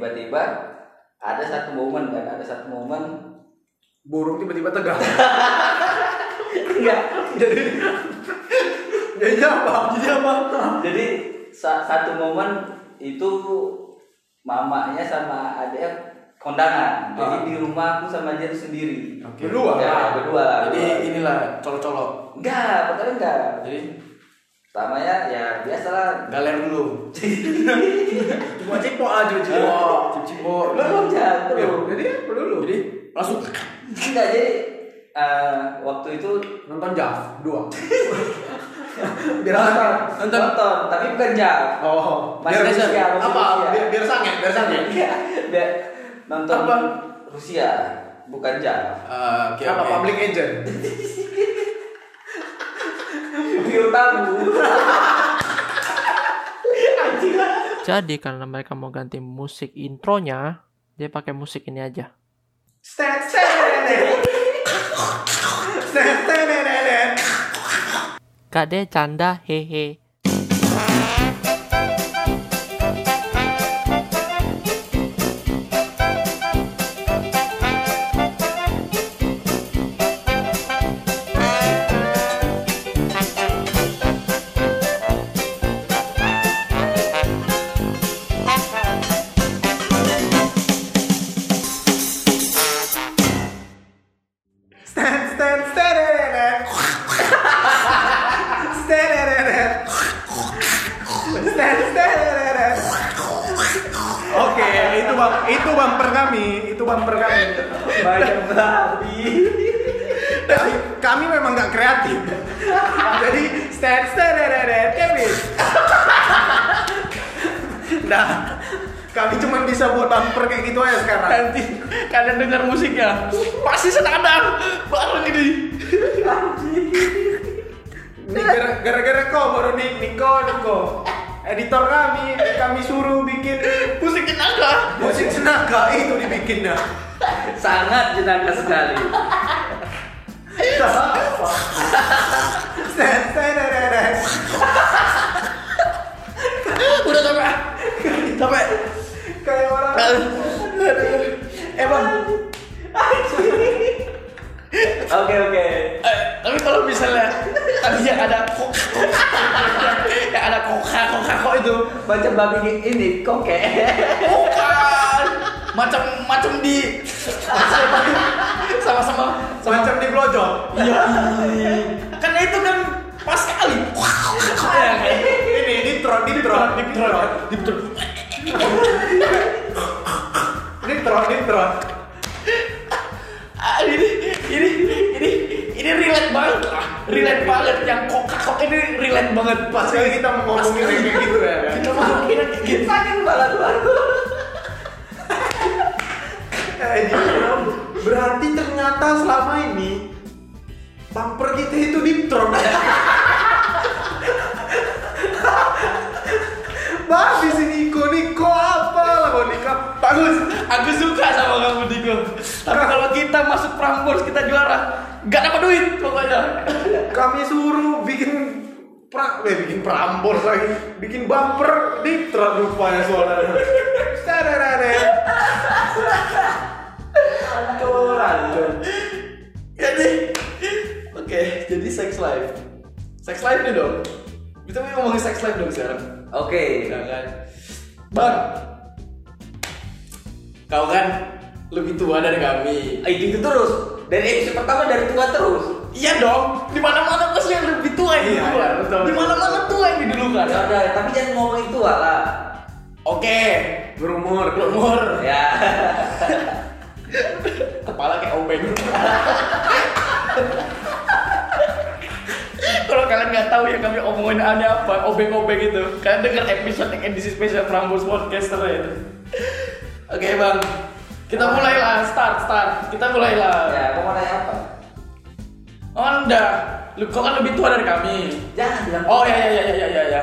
tiba-tiba ada satu momen kan ada satu momen burung tiba-tiba tegang enggak jadi jadi apa jadi apa jadi sa- satu momen itu mamanya sama adek kondangan jadi Ah. di rumah aku sama dia tuh sendiri Oke. Berdua? ya, berdua lah Jadi berdua. inilah colok-colok. enggak pertama enggak Jadi pertamanya ya biasalah galer dulu. cuma cipok aja cipok Cimbo, cimbo. Eh, belum jauh Ya, belum jadi apa dulu Jadi langsung enggak jadi eh, waktu itu nonton Jaf dua biar sange Nonton. nonton tapi bukan jauh oh Mas biar Reza, Mas apa Reza. biar, biar sange biar Oh, sange Iya, biar nonton Apa? Rusia bukan jauh Eh, oke apa oke. public agent Biar tamu Jadi karena mereka mau ganti musik intronya, dia pakai musik ini aja. Stat, stat, stat, stat, stat. Kade canda hehe. Stat, stat, stat, stat. Stat, stat, stat. Stat, stat, stat. Oke, itu bang, itu bumper kami, itu bumper kami. banyak babi Tapi kami memang nggak kreatif. Jadi stat, stat, stat, stat, kami. Nah, kami cuma bisa buat bumper kayak gitu aja sekarang. Nanti kalian dengar musiknya pasti senadang bareng ini. Ini gara- gara-gara kau baru nih Niko Niko editor kami kami suruh bikin Musik tenaga. musik senaga itu dibikin dah sangat jenaka sekali Udah capek. Capek. kayak orang Eh bang, oke oke eh, tapi kalau misalnya tadi yang ada kok yang ada koka koka kok itu macam babi ini- ini koke bukan macam macam di sama-sama macam di blojok Iya. Kan itu kan pas sekali. Ya, kan? ini ini tron di tron di tron Di betul. ini tron di tron Ah, Ini ini ini ini relate banget lah. Relate banget yang kokak kok ini relate banget pas Sekali kita ngomongin pas- kayak gitu ya, kan? Kita ngomongin kayak gitu. sakit kepala keluar Eh, jadi, berarti ternyata selama ini bumper kita itu di tron Babi si Niko, Niko apa lah mau nikah? Bagus. Aku suka sama kamu Diko. Tapi kalau kita masuk Prambors kita juara, nggak dapat duit pokoknya. Kami suruh bikin pra, eh, bikin prambors lagi, bikin bumper di tron rupanya soalnya. Sererere. Ancur, ancur. Jadi, Iya, oke, jadi sex life. Sex life nih dong. Kita mau ngomongin sex life dong sekarang. oke Iya kan? Bang, kau kan lebih tua dari kami. itu itu terus dari episode pertama dari tua terus Iya dong, di mana mana pasti yang lebih tua yang Iya, duluan. iya, betul. Di mana mana tua yang didulukan. ya udah tapi jangan ngomongin tua lah Oke, Berumur. berumur, ya kepala kayak obeng. Kalau kalian nggak tahu yang kami omongin ada apa, obeng-obeng itu, kalian dengar episode yang edisi spesial Prambors Podcaster ya itu. Oke bang, kita mulailah, start, start, kita mulailah. ya kamu mau nanya apa Anda, Oh, lu kau kan lebih tua dari kami. jangan bilang Oh ya ya ya ya ya ya.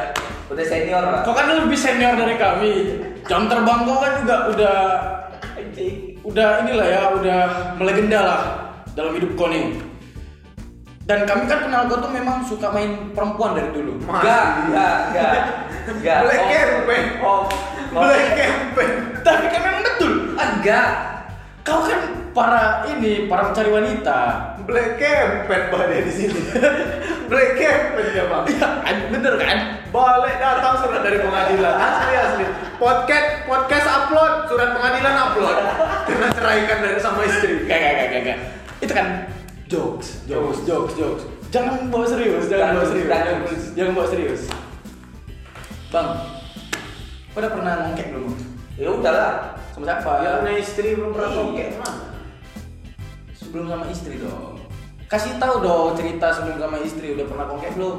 udah senior lah Kau kan lebih senior dari kami. Jam terbang kau kan juga udah Anjing. udah inilah ya, udah melegenda lah dalam hidup kau nih. Dan kami kan kenal kau tuh memang suka main perempuan dari dulu. Enggak, enggak, enggak. Enggak. Black Om, campaign. Om, om. Black campaign. Tapi kan memang enggak. Kau kan para ini, para pencari wanita. Black kempet badai di sini. Black kempet ya bang. Iya, kan? bener kan? Balik datang surat dari pengadilan. Asli asli. Podcast podcast upload, surat pengadilan upload. Kena Kan ceraikan dari sama istri. Enggak, enggak, enggak, enggak. Itu kan jokes, jokes, jokes, jokes. Jangan bawa serius, jangan bawa Jangan, serius. jangan. Jangan bawa serius. Bang, kau udah pernah ngongkek belum? ya udahlah Sama siapa? Ya, istri belum pernah bokeh, Sebelum sama istri dong. Kasih tahu dong cerita sebelum sama istri udah pernah kongkek belum?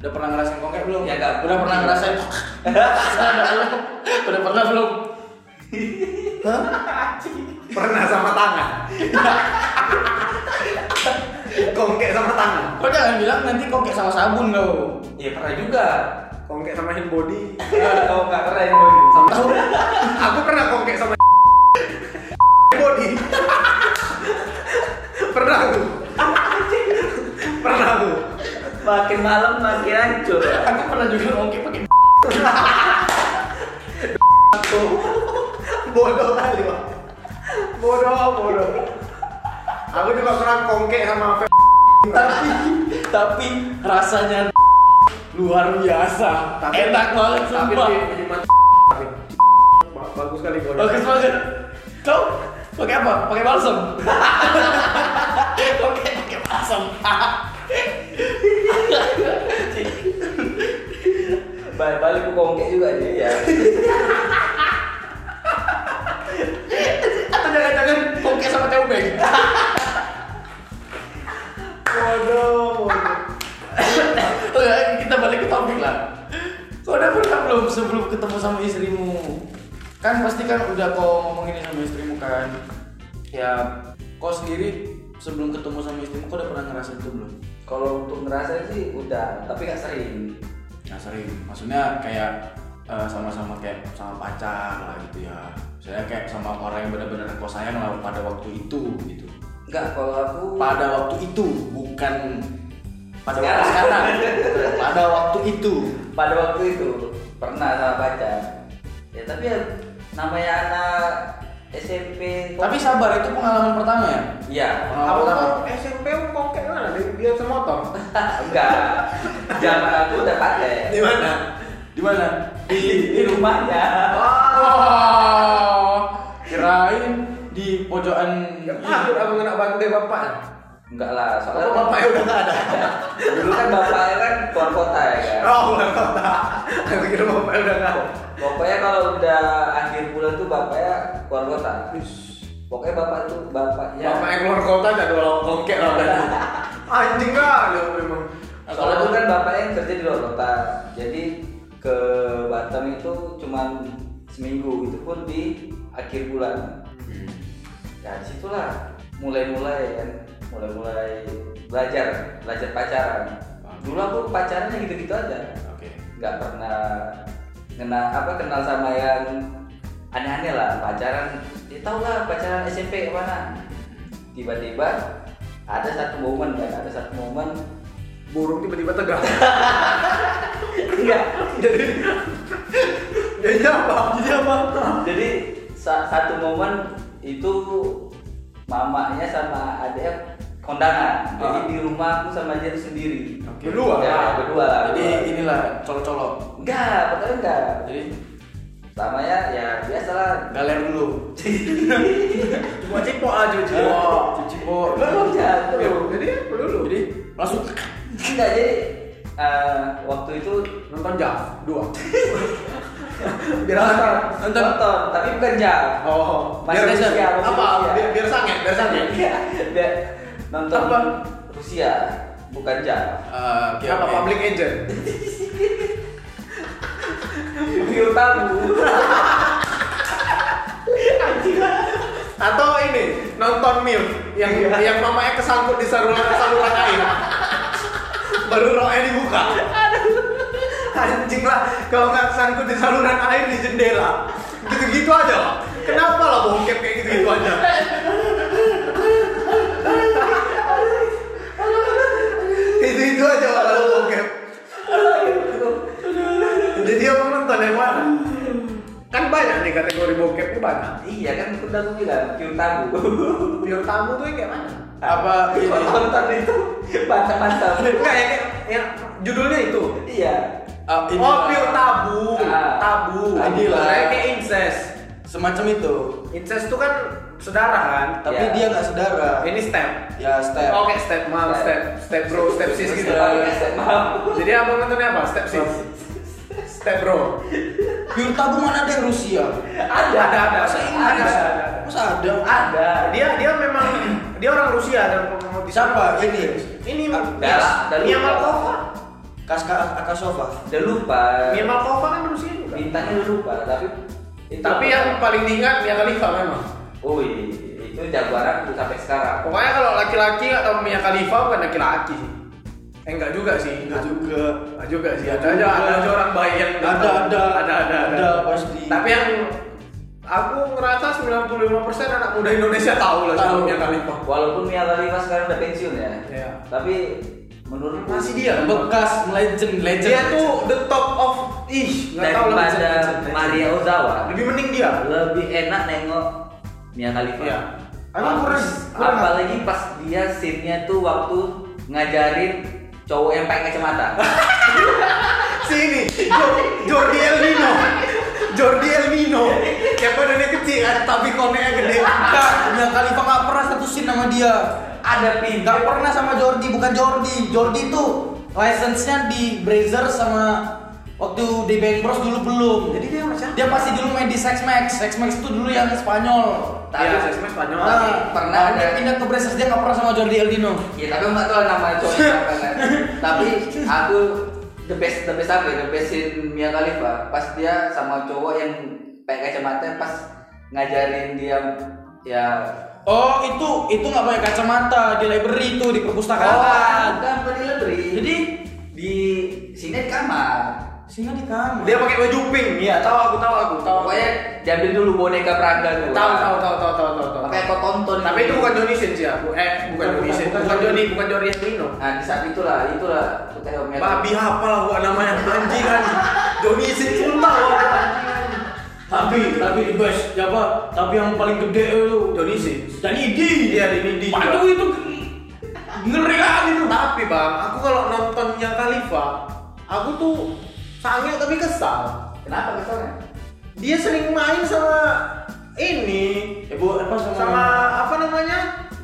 Udah pernah ngerasain kongkek belum? Ya, nggak. Udah pernah ngerasain? Udah belum? udah pernah belum? Pernah sama tangan. Kongkek sama tangan. Kau jangan bilang nanti kongkek sama sabun kau. ya pernah juga Kongkek sama hand body. kalau nggak keren gitu. dulu Tahu? Aku pernah kongkek sama body. pernah aku. pernah aku. makin malam makin hancur Aku pernah juga kongkek pakai Bodoh kali, Pak. Bodoh, bodoh. Aku juga pernah kongkek sama Fe- tapi tapi rasanya luar biasa. Tapi- Enak banget tapi sumpah. dia cuma tapi Ba- bagus sekali bodoh. Bagus banget. Kau pakai apa? Pakai balsam. Oke, pakai balsam. balik balik ke kongke juga dia ya Atau jangan-jangan oke sama teh ubeng. Bodoh, bodoh. Oke, kita balik ke topik lah. Kau udah pernah belum sebelum ketemu sama istrimu? Kan pasti kan udah kau ngomongin sama istrimu kan. Ya, kau sendiri sebelum ketemu sama istrimu kau udah pernah ngerasain itu belum? kalau untuk ngerasain sih udah tapi nggak sering Nah sering, maksudnya kayak eh, sama-sama kayak sama pacar lah gitu ya Misalnya kayak sama orang yang benar-benar kau sayang lah pada waktu itu gitu nggak kalau aku Pada waktu itu, bukan pada waktu Sekarang. sekarang Pada waktu itu pada waktu itu pernah sama pacar ya tapi ya namanya anak SMP Tapi sabar, itu pengalaman pertama ya? iya Aku Pengalaman tahu pertama SMP aku kongkek mana? Di dia semotor. enggak zaman aku udah pakai Di mana? Di mana? di, di rumahnya Ah. Wah, kirain di pojokan Takut aku kena bantai bapak. enggak lah soalnya kan Kalau bapaknya udah nggak ada. dulu kan bapaknya kan keluar kota ya kan Oh, udah kota. Aku kira bapaknya udah nggak ada. Pokoknya kalau udah akhir bulan tuh bapaknya keluar kota. Pokoknya bapak tuh Ya. bapaknya. Bapaknya keluar kota ada orang kongkek lah berarti. Anjing kali lu memang. Soalnya tuh kan bapaknya yang kerja di luar kota. Jadi ke Batam itu cuman seminggu itu pun di akhir bulan. Nah disitulah mulai-mulai kan, mulai-mulai belajar, belajar pacaran. Dulu aku pacarannya gitu-gitu aja. Oke nggak pernah kena apa kenal sama yang aneh-aneh lah pacaran ya tau lah pacaran SMP mana tiba-tiba ada satu momen kan ada satu momen Burung tiba-tiba tegak. enggak Jadi jadi apa? Jadi apa? jadi sa- satu momen itu mamanya sama adek kondangan jadi Ah. di rumah aku sama dia tuh sendiri Oke. Berdua? ya berdua lah Jadi berdua. inilah colok-colok enggak pokoknya enggak Jadi samanya ya biasalah galer dulu Cuma cipok aja cuci. Oh, cuci po. belum jatuh Jadi ya, apa dulu? Jadi langsung Enggak, jadi eh, waktu itu nonton jam dua. biar nonton, sangat. nonton. nonton, tapi bukan jam. Oh, Masih biar Rusia, Rusia. masih Apa? Rusia. Biar, biar sangat, biar sangat. Iya, dia nonton Apa? Rusia, bukan jam. Eh, oke, Apa oke. public agent? View tamu. Atau ini nonton mil yang yang mamanya kesangkut di saluran saluran air. Baru rohnya dibuka. Anjing lah, kalau nggak sangkut di saluran air di jendela. Gitu-gitu aja. Pak. Kenapa lah bokep kayak gitu-gitu aja? Itu-itu aja lah kalau bokep. Jadi dia mau nonton yang mana? Kan banyak banyak nih kategori bokep ini banyak. Iya kan udah gue bilang Q tabu. Biar tamu tuh yang kayak mana? Apa ini? Kok tonton itu mantap-mantap. Enggak yang, yang judulnya itu. Iya. Ah, ini oh, lah. pure tabu. Ah. tabu. Tadi lah. Kayak kayak incest. Semacam itu. Incest tuh kan saudara kan? Tapi Ya. dia nggak saudara. Ini step. Ya step. Oke, step mom, Step. step step bro, step sis gitu. Paling SMA. Jadi apa nontonnya apa? Step sis. Step bro. Pure tabu mana ada yang Rusia? Ada, ada, ada. Masa Inggris? Ada, ada, ada. Masa ada? Ada. Dia dia memang dia orang Rusia dan penggemar Siapa? Ini. Ini Ah, Mia, dah Mia lupa. Malkova. Kaska Akasova. Udah lupa. Mia Malkova kan Rusia juga. Iya. Bintangnya udah lupa tapi itu Tapi yang paling diingat Mia Khalifa memang. Oh iya, itu jagoan aku sampai sekarang. Pokoknya kalau laki-laki atau Mia Khalifa bukan laki-laki sih. Eh enggak juga sih. Enggak juga. Enggak juga sih. Enggak Ada aja juga. ada aja orang baik yang Ada ada ada ada ada. pasti. Tapi yang aku ngerasa 95% anak muda Indonesia tahu lah Tahu. siapa Mia Khalifa. Walaupun Mia Khalifa sekarang udah pensiun ya. Iya. Tapi menurutku Masih dia. bekas legend legend. Iya. Dia tuh the top of ih, enggak tahu lah daripada legend, legend, Maria legend. Ozawa Lebih mending dia. lebih enak nengok Mia Khalifa. Iya. Emang Apalagi- kurang kurang Apalagi pas dia scene-nya tuh waktu ngajarin cowok yang pakai kacamata. sini Jo- Jordi El Nino Jordi El Nino yang badannya kecil kan tapi koneknya gede Enggak, Mia Khalifa nggak pernah satu scene sama dia. Ada pindah Nggak pernah sama Jordi, bukan Jordi. Jordi tuh license-nya di Brazzer sama waktu di Bang Bros dulu belum. jadi dia macam Dia pasti dulu main di Sex Max. Sex Max itu dulu yang Spanyol. Tapi Iya, Sex Max Spanyol. Tapi pernah pernah dia ada. pindah ke Brazzers dia nggak pernah sama Jordi Eldino. Ya tapi nggak tahu nama cowok yang pakai. Tapi aku the best the best apa ya? The best scene Mia Khalifa pas dia sama cowok yang pakai kacamata pas ngajarin dia ya Oh itu itu nggak pakai kacamata di library itu di perpustakaan. Oh, bukan bukan di lebri. Jadi di sini di kamar singa di Oh. kamar. dia pakai baju pink iya tahu aku tahu aku tahu aku. pokoknya diambil dulu boneka Prada dulu tahu tahu tahu tahu tahu tahu tahu makanya kau tonton tapi itu bukan Johnny Sins ya Bu- eh bukan Johnny Sins bukan Johnny bukan Jordi El Nino nah di saat itulah itulah putih omnya babi apa lah gua namanya anjing kan Johnny Sins sumpah gua. Tapi tapi the best siapa? Tapi yang paling gede itu Johnny Sins dan Idi. iya ini di juga. Waduh itu ngeri gitu. kali itu. Tapi bang, aku kalau nontonnya Khalifa, aku tuh sange tapi kesal. kenapa kesannya Dia sering main sama ini, Ya bu apa sama? sama apa namanya?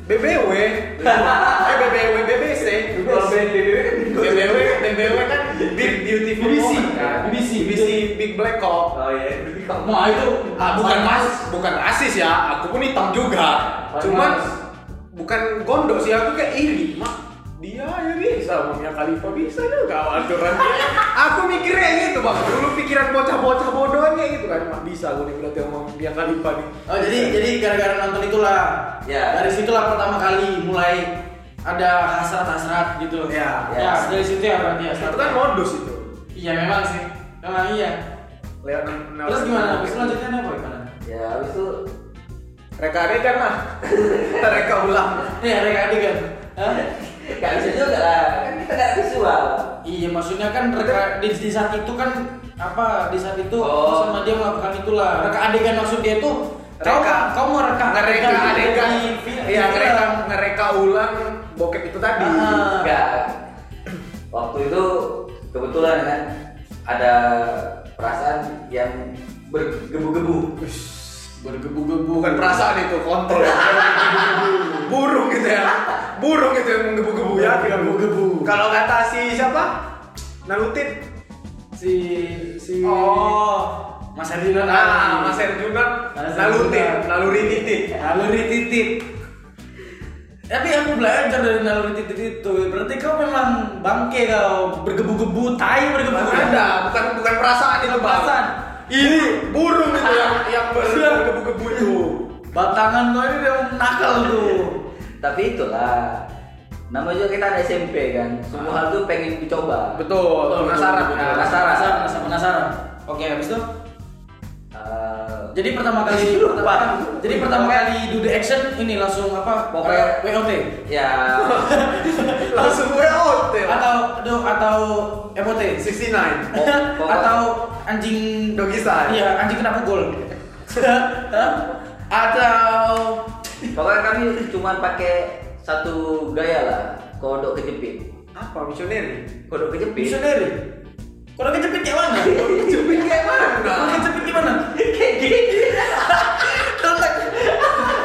BBW. eh BBW, BBC. Kalau BBW. BBW, BBW kan Big Beautiful BBC, Moment kan? BBC. BBC Big Black Hawk. oh iya Bibi kamu Wah itu Ah, bukan mas, bukan asis ya. Aku pun hitam juga. Bukan Cuman mas. bukan gondok sih aku kayak iri. Mak, dia ya bisa, Mamia Khalifa bisa juga aturan. aku mikirnya gitu bang. Dulu pikiran bocah-bocah bodohnya gitu kan. Mak bisa aku nih berarti sama Mamia Khalifa nih. Oh jadi jadi gara-gara nonton itulah. Ya. Dari situlah pertama kali mulai ada hasrat-hasrat gitu. Ya, Ya, ya. dari situ ya berarti ya. itu kan modus itu. Iya memang sih. Memang iya. Lewat Terus gimana? Habis itu lanjutnya apa gimana? ya habis itu Reka rekan lah. Reka ulang. Nih ada adik kan? Hah? nggak bisa juga lah kan kita nggak visual Iya maksudnya kan reka di, di saat itu kan apa di saat itu Oh. sama dia melakukan itulah reka adegan maksud dia tuh kau- Reka. kau mau reka Ngereka adegan. di film Iya, di ngereka film. ngereka ulang bokep itu tadi. Ah. nggak waktu itu kebetulan kan ada perasaan yang bergebu-gebu bergebu-gebu bukan perasaan itu kontrol burung gitu ya burung itu yang menggebu-gebu ya Menggebu-gebu. kalau kata si siapa Nalutin si si Oh. Mas Herdinand ah Mas Erjunan Mas Nalutin Erjunan. Naluri Titit naluri titit tapi aku belajar dari naluri titit itu berarti kau memang bangke kau bergebu-gebu tai bergebu-gebu ada bukan bukan perasaan itu Bang. Perasaan. ini burung itu yang yang ber- Iya. bergebu-gebu itu batangan kau ini memang nakal tuh tapi itulah nama juga kita ada SMP kan semua hal tuh pengen dicoba betul betul, penasaran kan? betul. penasaran penasaran penasaran oke habis itu Eh, jadi pertama kali Lupa. jadi pertama kali do the action ini langsung apa Pokoknya- eh, WOT ya langsung gue out ya atau do atau MOT 69 pokoknya- atau anjing Doggy style. iya anjing kena pukul Atau Pokoknya kami cuma pakai satu gaya lah, kodok kejepit. Apa misioneri? Kodok kejepit. misioneri? Kodok kejepit kayak mana? Kodok Jepit kayak Kodok Iya, mana? kejepit gimana? Kayak gini. Telentang.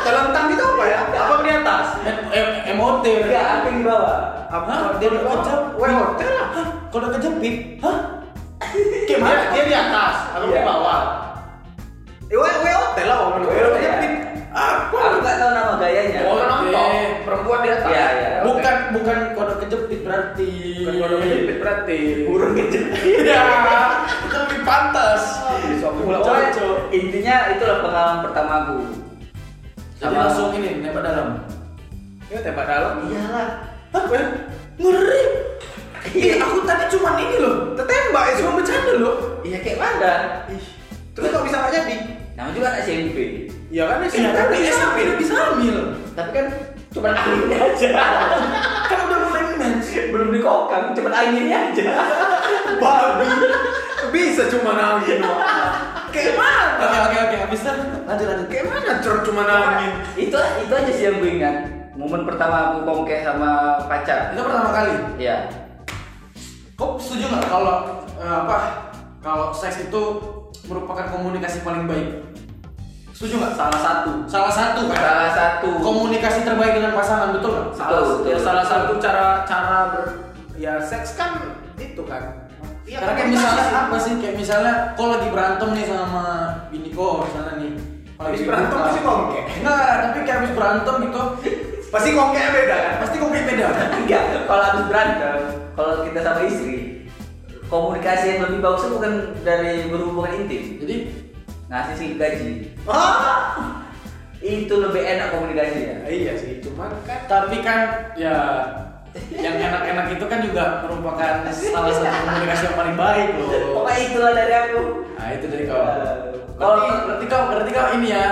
Telentang itu apa ya? Apa di atas? Em- em- Emote. Enggak, Iya. aku di bawah. Hah? Apa? Dia di hotel? hotel? Weh hotel lah. Hah? Kodok kejepit? Hah? Dia, Kayak mana? dia di atas, aku di Iya. bawah. Eh, weh weh hotel lah, orang Weh, Weh hotel. jepit. Apa? Aku nggak tahu nama gayanya. Orang Oke. nonton, perempuan di atas. Iya, iya. Bukan bukan kodok kejepit berarti. Bukan orang jepit berarti. Burung kejepit. Iya. Itu lebih pantas. Sombong. Pokoknya Cocok. intinya itulah pengalaman pertama aku. Jadi langsung ini nembak dalam. Ya tembak dalam. Iyalah. Hah? eh, Ngeri. Ih, aku tadi cuman ini loh. eh, Tertembak ya Cuma bercanda loh. Iya kayak mana? Terus kok bisa nggak jadi? Namanya juga anak SMP. Iya kan Eh, tapi SMP dia bisa hamil. Tapi kan cuma anginnya aja. Kan udah mulai mens. Belum dikokang, cuma anginnya aja. babi bisa cuma nangin kayak Oke mana oke oke habis dah. Lanjut lanjut. kayak mana cur cuma nangin itu itu aja sih yang gue ingat. Momen pertama aku kongke sama pacar. Itu pertama kali. Iya. Kok setuju nggak kalau eh, apa? Kalau seks itu merupakan komunikasi paling baik. Setuju nggak? Salah satu. Salah satu kan. Salah satu. komunikasi terbaik dengan pasangan betul nggak? salah, betul. ya salah satu cara cara ber ya seks kan itu kan ya Karena kayak misalnya apa sih? Kayak misalnya kau lagi berantem nih sama bini kau misalnya nih. Kalau habis lagi berantem buka. pasti kongke Enggak, tapi kayak habis berantem gitu pasti kongke beda kan pasti kau beda. Enggak, kalau habis berantem, kalau kita sama istri, komunikasi yang lebih bagus itu bukan dari berhubungan intim. Jadi Ngasih sih gaji. ah Itu lebih enak komunikasinya. iya sih cuman kan tapi kan ya yang enak-enak itu kan juga merupakan salah satu komunikasi yang paling baik loh. Pokoknya itulah gitu dari aku. Nah itu dari kau. Kalau Kalau berarti kau berarti kau ini ya.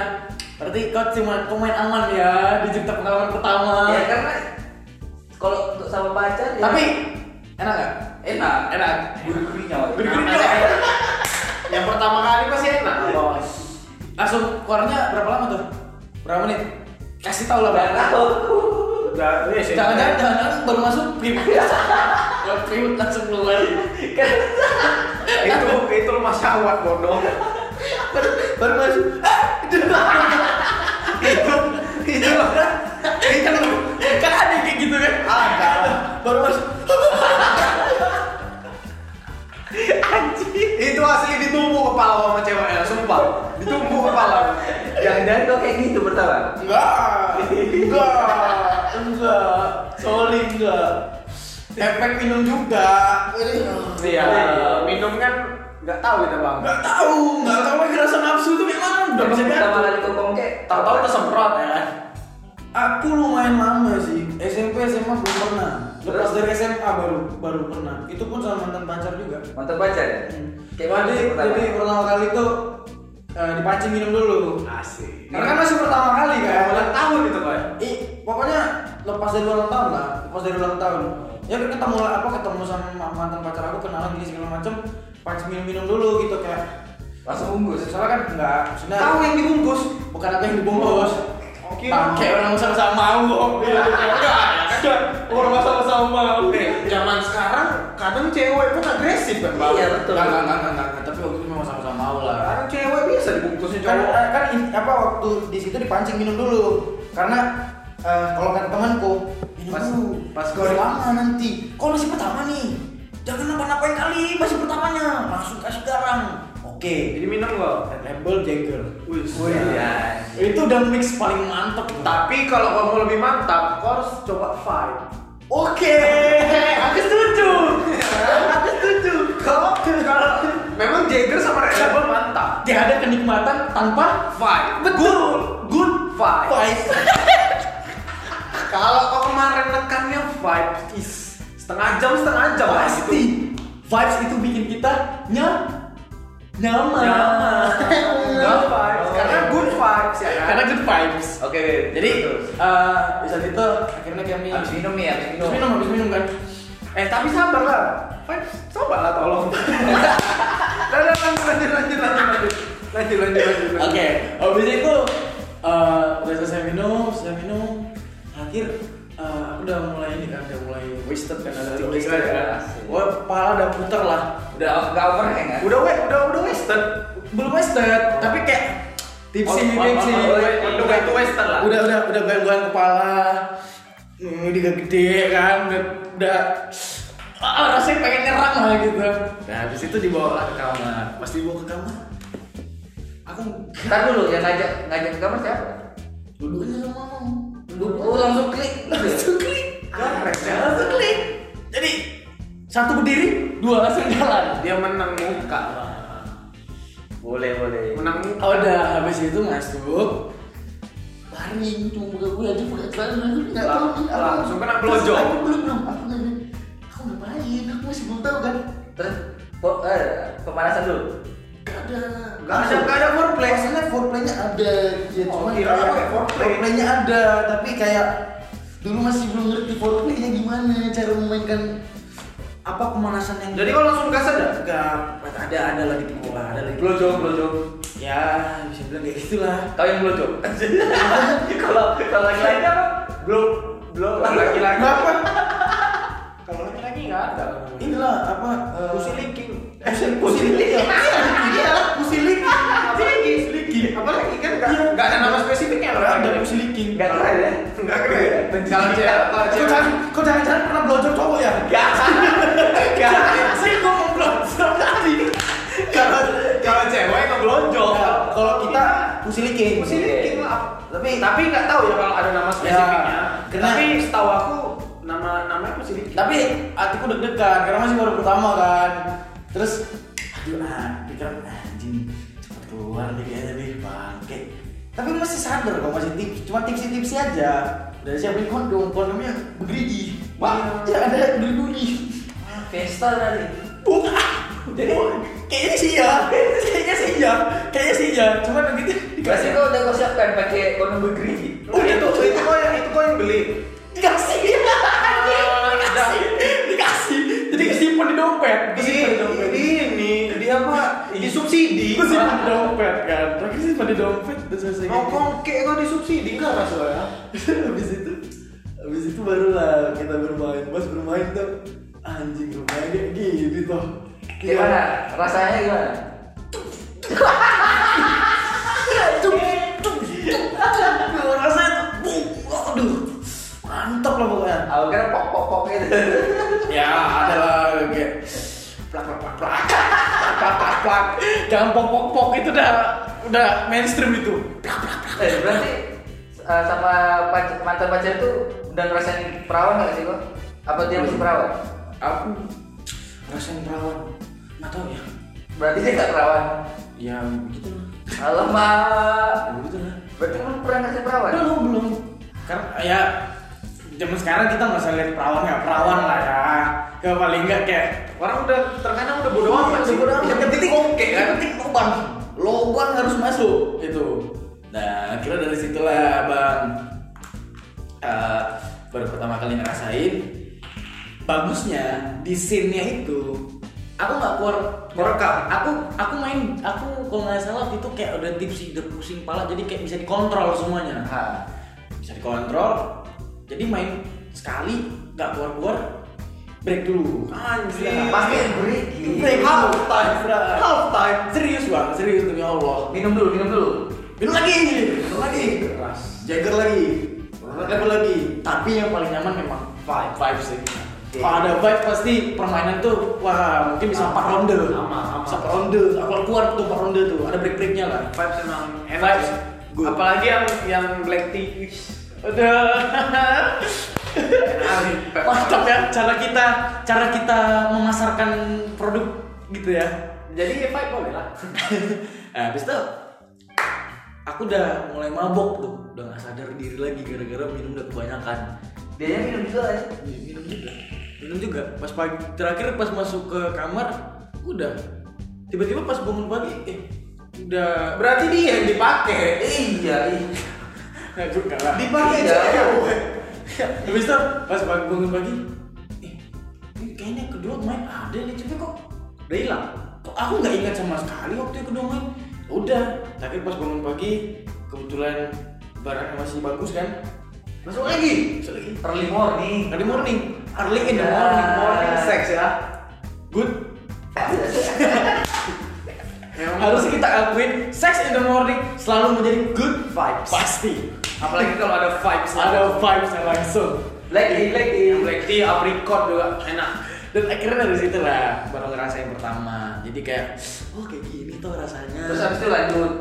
Berarti kau cuma kau main aman ya di cerita pengalaman pertama. ya karena kalau untuk sama pacar ya Tapi enak nggak? enak, Enak. gurih-gurihnya. Wak. Gurih-gurihnya. yang pertama kali pasti enak Langsung keluarnya berapa lama tuh? Berapa menit? Kasih tau lah Nggak Bang. tahu. udah ini sih Jangan-jangan jangan-jangan baru masuk prim. Kalau prim langsung keluar. itu itu rumah syawat bodoh Baru, baru masuk. Ah, itu itu itu itu kan ada kayak gitu kan? Ada. Baru masuk. itu asli ditumbuk kepala sama ceweknya sumpah ditumbuk kepala Jangan-jangan kau kayak gitu pertama. Enggak. Enggak. Enggak. Sorry enggak. Efek minum juga. Iya, minum kan nggak tahu kita bang. Enggak tahu, enggak tahu lagi rasa nafsu itu memang udah Terus bisa pertama diatur. kali kau kongke, Tahu-tahu kesemprot ya. Aku lumayan lama sih. SMP SMA belum pernah. Lepas dari SMA baru baru pernah. Itu pun sama mantan pacar juga. Mantap pacar ya? Kayak mana jadi sih gitu, pertama? jadi pertama kali itu eh, dipancing minum dulu. Asik. Karena kan masih pertama kali kan. Kayak ulang tahun itu gitu, pak. Ih, pokoknya lepas dari ulang tahun lah, lepas dari ulang tahun. Ya ketemu lah, apa ketemu sama mantan pacar aku kenalan gini segala macem pancing minum-minum dulu gitu kayak. Langsung bungkus. Soalnya kan enggak, maksudnya Tahu yang dibungkus. Oh, bukan aku yang dibungkus Oke. pakai orang sama-sama oh, iya. mau om Iya. kan Orang sama-sama mau. Zaman sekarang kadang cewek pun agresif kan bang. Iya, betul. enggak enggak enggak enggak, enggak tapi waktu itu memang sama-sama mau lah Kadang cewek bisa dibungkusin kan cowok. kan in- apa waktu di situ dipancing minum dulu karena eh, kalau kata temanku minum Pas- dulu pas kau- Biar lama nanti kau masih pertama nih jangan napa-napain kali masih pertamanya langsung kasih garam oke Jadi minum kok. Red label Jagger Wih, Oh, iya. itu udah mix paling mantep tak Tapi kalau kamu lebih mantap, kau harus coba fight. Oke, aku setuju. aku setuju. Kalau kalau memang Jagger sama Red Label mantap. Dia ada kenikmatan tanpa Fight. Good, good Fight. vibes. Kalau kau kemarin nekannya vibes is setengah jam setengah jam lah Pasti gitu. vibes itu bikin kita nyam nyaman. Nyaman. Good vibes. Karena good vibes ya kan. Karena good vibes. Oke, Jadi eh bisa itu akhirnya kami habis minum nih, habis minum. Habis minum habis minum kan. eh tapi sabar lah. Vibes sabar lah tolong. Udah, udah, lanjut lanjut lanjut lanjut. lanjut lanjut lanjut Oke, lanjut. habis itu eh, udah selesai minum, selesai minum, akhir eh, aku udah mulai ini kan, udah mulai wasted kan, ada Wasted, wasted kan. asik. Wah, kepala udah puter lah, Udah nggak overhang kan? udah we- udah udah wasted belum wasted, tapi kayak tipsy, Oh, oh, tipsy, oh, oh, we- oh, udah itu wasted lah udah udah udah gangguan kepala, hmm, udah gede kan, udah, udah ah, rasanya pengen nyerang lah gitu. Nah, habis itu dibawa lah ke kamar, pas dibawa ke kamar, aku Ntar dulu yang ngajak ngajak ke kamar siapa? duduknya sama mama. Lu lu langsung klik. langsung klik Keren, ya. langsung klik jadi satu berdiri dua langsung jalan dia menang muka Bang. boleh boleh. menang muka Oh, udah habis itu ngasuk Bari cuma buka gue aja buka celana gue nggak tahu nih apa. Langsung kena blojok. Aku belum belum aku nggak aku ngapain aku masih belum tahu kan Terus po- eh, pemanasan dulu. gak ada Nggak ada- nggak ada foreplay. maksudnya foreplaynya ada ya Oh, cuma kira apa ya, foreplay. foreplaynya ada tapi kayak dulu masih belum ngerti foreplaynya gimana cara memainkan apa pemanasan yang jadi kalau langsung gas aja Enggak, ada ada lah di pukul lah, ada lagi. Blojok blojok. Ya, bisa bilang kayak gitulah. Tahu yang blojok? Kalau kalau laki lain apa? Blok blok laki-laki. Nah, Kenapa? kalau laki-laki nggak ada Inilah apa? eh, Pussy licking. Pussy pussy licking. Iya, pussy licking. apa lagi apa lagi kan nggak Iya. nggak ada nama spesifiknya Nggak orang ada pussy licking. Gak keren ya? nggak keren kalau Kalau cewek kalau Kau cewek jangan, kau jangan-jangan pernah blowjob cowok ya? Nggak. Nggak. Saya gua mau blowjob tadi. kalau kalau cewek ngeblonjol Nah, Kalau kita pussy licking. Mesti licking lah. Tapi Tapi- tapi nggak tahu ya kalau ada nama spesifiknya. Ya, kena. Tapi setahu aku nama namanya mesti licking. tapi hatiku deg-degan karena masih baru pertama kan terus aduh ah pikiran anjing cepet keluar nih kayaknya nih bangke tapi masih sadar kok masih tips cuma tipsi tipsi aja udah siapin kondom kondomnya bergerigi bang ya ada bergerigi Pesta tadi. bukan jadi kayaknya sih ya kayaknya sih ya kayaknya sih ya cuma begitu Berarti dikasih kau udah kau siapkan pakai kondom bergerigi. Oh itu itu kok yang itu kok yang beli. dikasih Anjing, dikasih dikasih jadi kesimpan di dompet Di, kesimpan di dompet di ini di apa? Di subsidi. Gue simpen di dompet kan, terakhir simpen di dompet udah selesai Mau kongke kok di subsidi nggak masalah. Habis itu, habis itu barulah kita bermain, pas bermain tuh anjing rumahnya kayak gini toh Iya. Gimana? Rasanya gimana? Cung, cung, cung, cung. Rasanya tuh, bung, aduh Mantap lah pokoknya Aku kira pok pok pok gitu. Ya ada lah kayak Plak, plak, plak, plak Plak, plak, plak, plak Jangan pok-pok-pok itu udah, udah mainstream itu Plak, plak, plak Eh, berarti eh, sama pac- mantan pacar itu udah ngerasain perawan nggak sih kok? Apa dia masih perawan? Aku ngerasain perawan, nggak tau ya Berarti dia nggak perawan. Ya gitu lah Alamak. Ya, gitu lah Berarti lu pernah ngerasain perawan? belum belum karena ya zaman sekarang kita nggak usah lihat perawan ya perawan lah ya ke paling nggak kayak Orang udah terkadang udah bodo amat sih. Bodo amat. Yang penting kongke kan. yang penting lubang lubang harus masuk itu nah kira dari situlah bang eh, baru pertama kali ngerasain bagusnya di scene-nya itu aku nggak keluar Merekam. aku aku main aku kalau nggak salah waktu itu kayak udah tipsi udah pusing pala jadi kayak bisa dikontrol semuanya Ha. bisa dikontrol jadi main sekali nggak keluar keluar break dulu Anjir. Pasti bergerigi. break Half dulu. time. Break. gitu. Half time. serius bang serius demi allah Minum dulu, minum dulu. minum lagi minum lagi Keras. jagger lagi level lagi tapi yang paling nyaman memang vibe vibe sih kalau ada vibe pasti permainan tuh wah mungkin bisa empat ronde Sama, sama. Bisa empat ronde kalau keluar tuh empat ronde tuh ada break breaknya lah Vibes emang enak. ya. Vibes sih. good. Apalagi yang yang black tea. Wih, udah Enak. Mantap ya cara kita cara kita memasarkan produk gitu ya. Jadi ya vibe boleh lah. nah, habis itu aku udah mulai mabok tuh, udah nggak sadar diri lagi gara-gara minum udah kebanyakan. Dia minum juga aja. Ya, Minum juga, minum juga. Pas pagi terakhir pas masuk ke kamar udah tiba-tiba pas bangun pagi eh udah Berarti dia yang dipakai. Iya, iya. Nggak juga lah. Dipakai Iya. cewek. Habis itu Ya, pas pagi bangun pagi, eh ini kayaknya kedua main ada nih tapi kok Udah hilang. kok aku nggak ingat sama sekali waktu yang kedua main udah tapi pas bangun pagi kebetulan barangnya masih bagus kan Masuk lagi. bisa lagi Early morning. early morning early in the Ya. morning Morning sex ya. good harus kita akuin sex in the morning selalu menjadi good vibes pasti Apalagi kalau ada vibes. ada vibes yang langsung Black tea, black tea. Yang black tea, apricot juga enak. dan akhirnya dari situ lah baru ngerasa yang pertama jadi kayak oh kayak gini tuh rasanya Terus habis itu lanjut.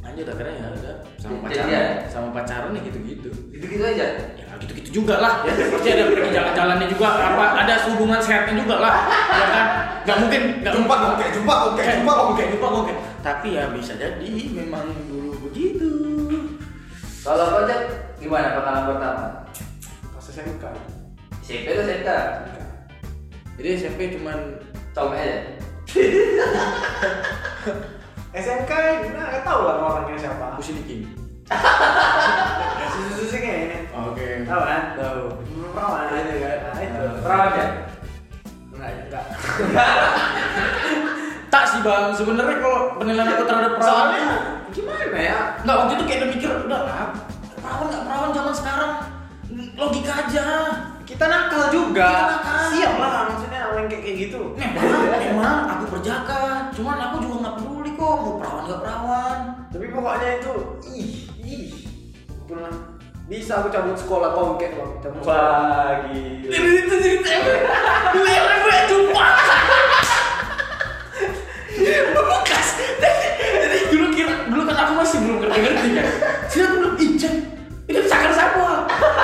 lanjut akhirnya ya udah sama Jadi- pacaran jadian. sama pacaran ya gitu-gitu Gitu-gitu aja. ya gitu-gitu juga lah ya pasti ada pergi jalan-jalannya juga apa ada hubungan sehatnya juga lah ya kan nggak mungkin nggak Jumpa kok, kayak jumpa kok, kayak jumpa kok. oke jumpa oke tapi ya bisa jadi memang dulu begitu Kalau kau Jack, gimana pengalaman pertama? Pas SMK. SMP atau SMK? jadi SMP cuman Tom aja. SMK, nah nggak tahu lah orangnya siapa. aku sedikit Susu susu kayaknya. oke Tahu kan? tahu Perawan aja kan. Nah, itu. Perawan ya? Enggak, enggak. tak sih bang sebenarnya kalau penilaian aku terhadap perawan Soalnya gimana ya? nggak waktu itu kayak udah mikir udah lah perawan nggak perawan zaman sekarang logika aja Kita nakal juga. Kita nakal. Siap lah maksudnya orang yang kayak kayak gitu. memang memang aku berjaga cuman aku juga nggak peduli kok mau perawan nggak perawan Tapi pokoknya itu ih ih. Pernah bisa aku cabut sekolah bangke bang cabut sekolah. Pagi. ini itu cerita leher gue jumpa bekas jadi dulu kira dulu kan aku masih belum ngerti ngerti kan sih aku belum ijek itu cakar siapa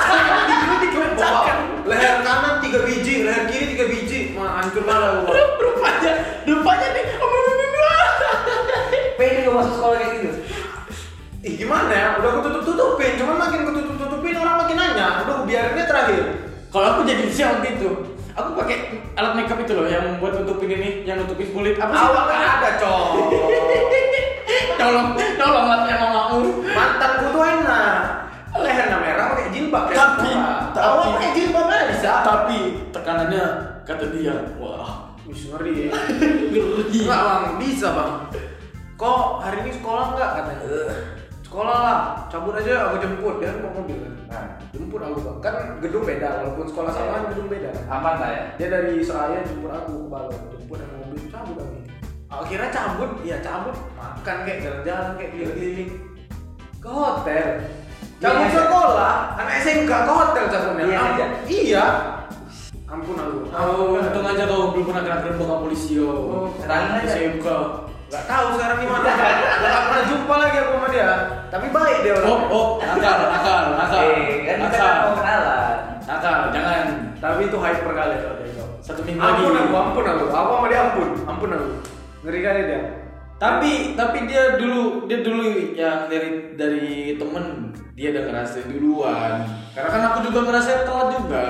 cakar di dulu di kemen cakar leher kanan tiga biji, leher kiri tiga biji, mah hancur lah aku. rupanya rupanya nih om om om Pede lu masuk sekolah kayak gitu. Ih gimana ya? Udah aku tutup tutupin, cuman makin aku tutup tutupin orang makin nanya. Udah aku biarinnya terakhir. kalau aku jadi siapa waktu itu aku pakai alat makeup itu loh yang buat nutupin ini yang nutupin kulit apa sih Awak kan? nggak ada cowok. tolong tolong lah yang mamamu Mantanku tuh enak. Lehernya merah pakai jilbab. kayak Tapi- semua. tapi- awak pakai jilbab aja bisa. tapi tekanannya kata dia wah Wis ngeri. ya. ngeri Enggak bang, bisa bang. Kok hari ini sekolah nggak katanya? "Eh, Sekolah lah, cabut aja aku jemput dia mau mobil kan. Nah, jemput aku bang. Kan gedung beda, walaupun sekolah sama Iya. kan gedung beda. Aman lah ya. Dia dari Seraya jemput aku ke Balong, jemput sama mobil cabut aku. Akhirnya cabut, ya cabut, makan kayak jalan-jalan kayak keliling-keliling ke hotel. Cabut Iya, iya. sekolah, anak SMK ke hotel cabutnya. Iya, Am- iya. iya. Ampun aku. Oh, untung aja kau belum pernah kena gerbang ke polisi kau. Oh, terangin aja. SMK. Gak tahu sekarang gimana. Gak pernah jumpa lagi aku sama dia. Tapi baik dia Oh, orang. oh, nakal, nakal, nakal, Eh, kan kita nakal, kan mau kenalan. nakal, jangan. Tapi itu hyper kali kalau dia itu. Satu minggu lagi. Ampun aku, ampun aku. Aku sama dia ampun, ampun aku. Ngeri kali dia. Tapi, tapi dia dulu, dia dulu yang dari dari temen dia udah ngerasain duluan. Karena kan aku juga ngerasain telat juga.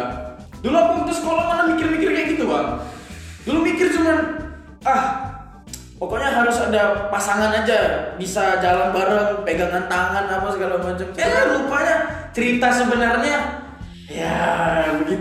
Dulu aku waktu sekolah mana mikir-mikir kayak gitu bang. Dulu mikir cuman ah pokoknya harus ada pasangan aja bisa jalan bareng pegangan tangan apa segala macam eh rupanya cerita sebenarnya ya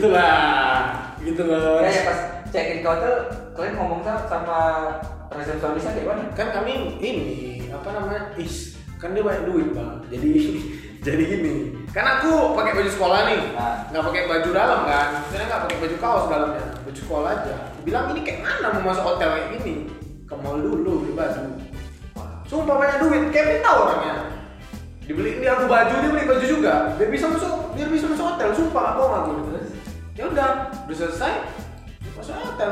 begitulah gitu loh Ya, ya pas check in ke hotel, kalian ngomong sama, sama resepsionisnya kayak mana? Kan kami ini apa namanya? Is, kan dia banyak duit bang. Jadi jadi gini. Kan aku pakai baju sekolah nih, Ah. nggak pakai baju dalam kan? Karena nggak pakai baju kaos dalamnya, baju sekolah aja. Bilang ini kayak mana mau masuk hotel kayak gini? Ke mall dulu beli baju. Sumpah banyak duit, Kevin tahu orangnya. Dibeli dia aku baju, dia beli baju juga. Dia bisa masuk, dia bisa masuk hotel. Sumpah aku nggak aku terus. Ya udah, udah selesai. Masuk hotel.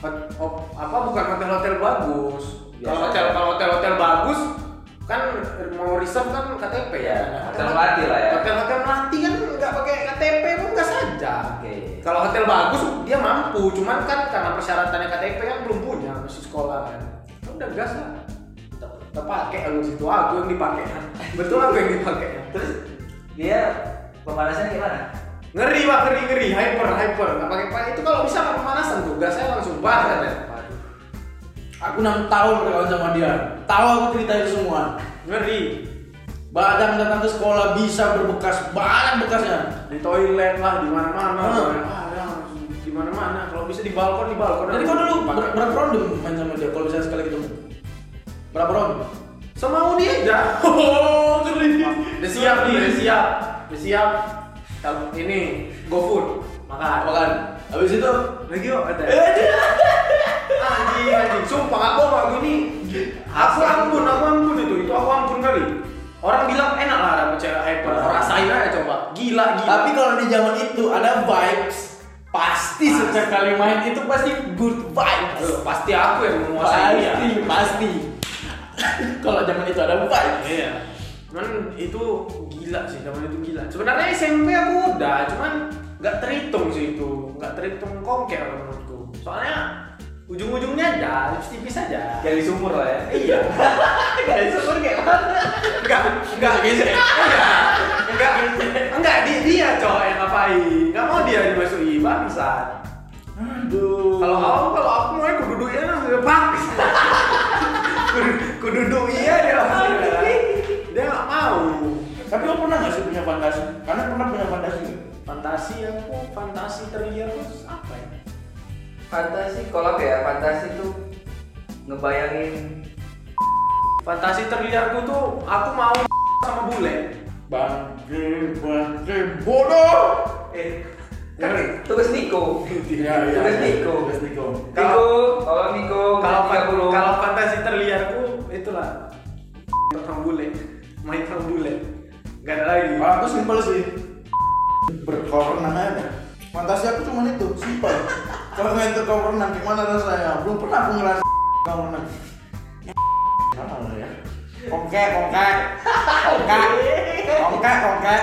Hot- op- apa bukan hotel hotel bagus? Biasa. Kalau hotel kalau hotel hotel bagus kan mau reserve kan KTP ya. Iya, hotel melati lah ya. Hotel hotel melati kan nggak pakai KTP pun nggak saja. Oke. Kalau hotel bagus dia mampu, cuman kan karena persyaratannya KTP kan belum punya masih sekolah kan. Ya Udah gas lah. Kita kita pakai aku di situ aku yang dipakai. Betul aku yang dipakai. Terus dia pemanasan kayak mana? Ngeri pak, ngeri ngeri, hyper hyper. Nggak pakai pakai itu kalau bisa nggak pemanasan tuh, gasnya langsung kan? bah katanya. aku 6 tahun berkawan sama dia tahu aku cerita itu semua Ngeri. Badang datang ke sekolah bisa berbekas banyak bekasnya. Di toilet lah, di mana mana. Hmm. Di mana mana. Kalau bisa di balkon di balkon. Jadi kau dulu ber berperondom main sama dia kalau misalnya sekali ketemu. Berapa round? Semau dia aja. Oh, ngeri. Udah Udah siap nih, udah siap. siap. Udah siap. Kalau ini GoFood makan. Makan. Habis itu Lagi yuk ada. ya? Anjing anjing. Sumpah nggak bohong aku ini. Aku ampun, aku ampun itu. Itu aku ampun kali. Orang bilang enak lah ada cewek hyper. Rasain aja coba. Gila gila. Tapi kalau di zaman itu ada vibes Pasti setiap kali main itu pasti good vibes Aduh, pasti aku yang menguasai dia. Pasti, pasti Kalau zaman itu ada vibes Iya. Cuman itu gila sih, zaman itu gila. Sebenarnya SMP aku udah, cuman nggak terhitung sih itu, nggak terhitung kongker kalau menurutku. Soalnya ujung-ujungnya ada, tipis-tipis aja. Gali sumur lah ya. Iya. Guys, super kayak mana? Enggak, enggak gitu. Enggak, enggak dia, dia cowok yang ngapain? Enggak mau dia dimasuki bangsa. Aduh Kalau aku, kalau aku mau aku duduk ya langsung pak. Kududuk iya dia langsung. Dia nggak mau. Tapi lo pernah gak sih punya fantasi? Karena pernah punya fantasi nggak? fantasi aku fantasi terakhir terus apa ya Fantasi kalau apa ya fantasi tuh ngebayangin fantasi terakhirku tuh aku mau sama bule Bangke, bangke, bodoh eh kan tugas Niko. gitu. Iya, iya Tugas iya. Niko. Tugas Niko Niko, tolong Niko. kalau tiga fan- kalau fantasi terakhirku itulah sama bule main sama bule gak ada lagi Kalau aku simpel sih Berkorenan aja Fantasi aku cuma itu, simpel Kalau main ke korenan, gimana rasanya? Belum pernah aku ngerasa korenan Kenapa lo ya? Kongkek, kongkek Kongkek, kongkek, kongkek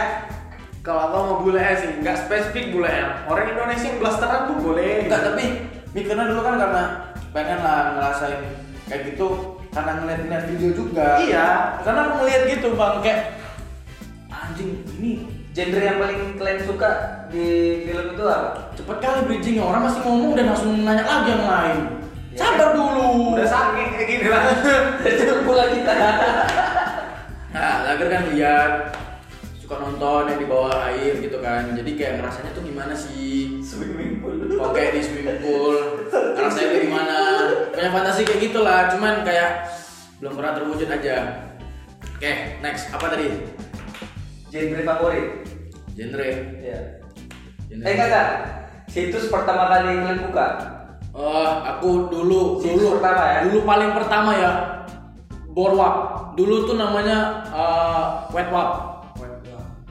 kalau aku mau bule aja sih nggak spesifik bule ya orang Indonesia yang blasteran tuh boleh Enggak, tapi mikirnya dulu kan karena pengen lah ngerasain kayak gitu karena ngeliat-ngeliat video juga iya karena aku ngeliat gitu bang kayak anjing ini genre yang paling kalian suka di film itu apa? cepet kali bridgingnya orang masih ngomong dan langsung nanya lagi yang lain Ya, sabar dulu udah sange kayak gini lah Itu pula kita. nah lager kan lihat suka nonton yang di bawah air gitu kan jadi kayak ngerasanya tuh gimana sih Swimming pool. Oke di swimming pool, rasanya kayak gimana? Punya fantasi kayak gitulah, cuman kayak belum pernah terwujud aja. Oke, next apa tadi? Genre favorit. Genre. Iya. genre. Eh kakak, situs pertama kali kalian buka? Eh, aku dulu Situs dulu pertama ya? Dulu paling pertama ya. Borwap. Dulu tuh namanya eh Wetwap.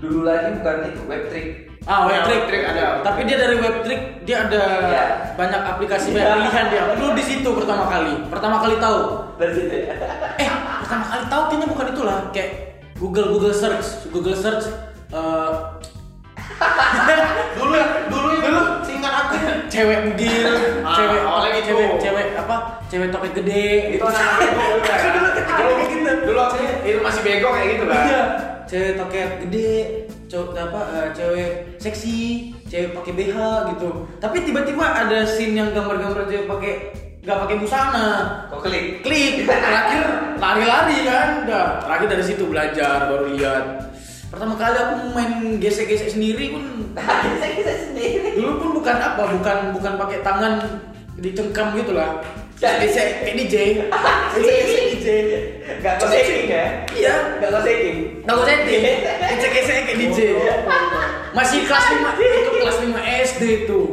Dulu lagi bukan itu, webtrick. Ah, Ya, Webtrick. Webtrick Iya. ada. Tapi dia dari Webtrick dia ada Ya. banyak Iya. Ya. aplikasi banyak pilihan dia. Dulu di situ pertama kali. Pertama kali tahu. Dari situ ya. eh pertama kali tahu kayaknya bukan itulah kayak Google Google search Google search eh, dulu ya, dulu dulu singkat aku cewek bugil Ah, cewek oh, topik gitu. cewek cewek apa cewek topik gede itu gitu anak-anak bego dulu kan dulu dulu aku itu masih bego kayak gitu kan iya cewek topik gede cowok apa eh, cewek seksi cewek pakai BH gitu tapi tiba-tiba ada scene yang gambar-gambar cewek pakai nggak pakai busana Kok klik? klik terakhir lari-lari kan dah terakhir dari situ belajar baru lihat pertama kali aku main gesek-gesek sendiri pun Nah, Saya kita sendiri. dulu pun bukan apa bukan bukan pakai tangan dicengkam gitu lah jadi saya kayak DJ gesek-gesek DJ Gak kau shaking ya? iya Gak kau shaking. nggak usah setting gesek-gesek kayak DJ masih kelas 5 itu kelas 5 SD tuh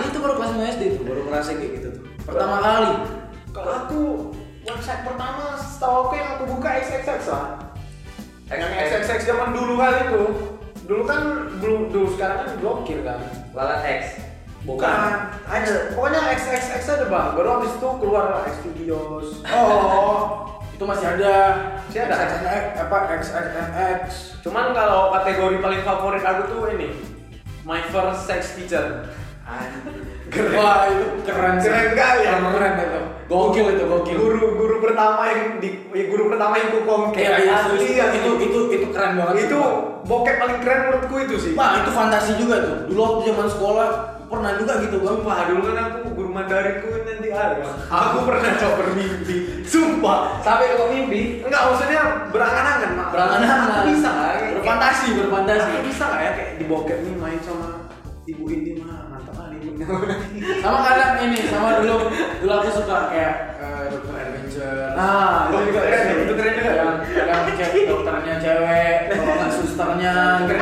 itu baru kelas 5 SD tuh baru ngerasa kayak gitu tuh pertama kali Kalau aku website pertama setahu aku yang aku buka XXX lah. ah. Yang XXX zaman dulu kali itu. Dulu kan belum dulu sekarang kan blokir kan. Nah, Lalat X. Ada. Pokoknya XXX ada bang. Baru habis itu keluar X Studios. Oh. itu masih ada Masih ada? XXX, apa XXX Cuman kalau kategori paling favorit aku tuh ini. My first sex teacher. wah itu keren sih. Keren kali ya? keren itu gokil itu gokil Guru guru pertama yang di ya, guru pertama yang ku kongke. Iya, iya, serius. Asli, asli. itu itu itu keren banget itu bokep paling keren menurutku itu sih. Wah, itu fantasi juga tuh dulu waktu zaman sekolah pernah juga gitu bang Sumpah dulu kan aku guru Mandarinku nanti ada. Aku pernah coba bermimpi. Sumpah. Sampai kau mimpi. Enggak maksudnya berangan-angan mak. berangan Aku bisa nggak? ya? berfantasi berfantasi Aku bisa nggak ya kayak di bokep nih main sama ibu ini mah mantap kali sama kadang ini sama dulu dulu aku suka kayak eh, dokter adventure nah itu juga keren itu keren juga yang yang cewek dokternya cewek kalau nggak susternya gitu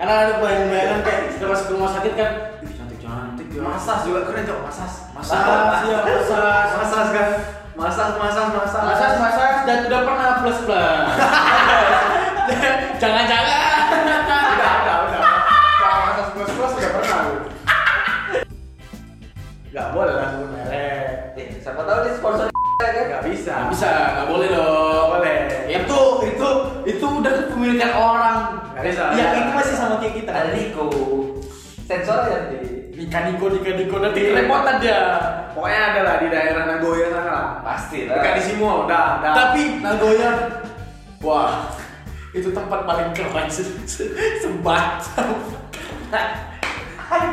karena ada bayang-bayangan kayak kita masuk ke rumah sakit kan "Ih, cantik-cantik ya masas juga keren cok masas masas ya masas masas kan masas masas masas masas masas dan sudah pernah plus plus jangan-jangan udah udah udah kalau masas plus plus udah pernah gue nggak boleh lah gue merek Eh, siapa tahu nih sponsor kan? nggak bisa Nggak bisa nggak boleh dong Nggak boleh. itu itu itu udah kepemilikan orang Nggak bisa. ya itu masih sama kayak kita Ada Niko. Sensor ya di Nika Niko Nika Niko nanti kerepotan dia pokoknya ada lah di daerah Nagoya sana lah pasti dekat lah. di Simo udah udah tapi Nagoya wah itu tempat paling keren se se Nah, sebacau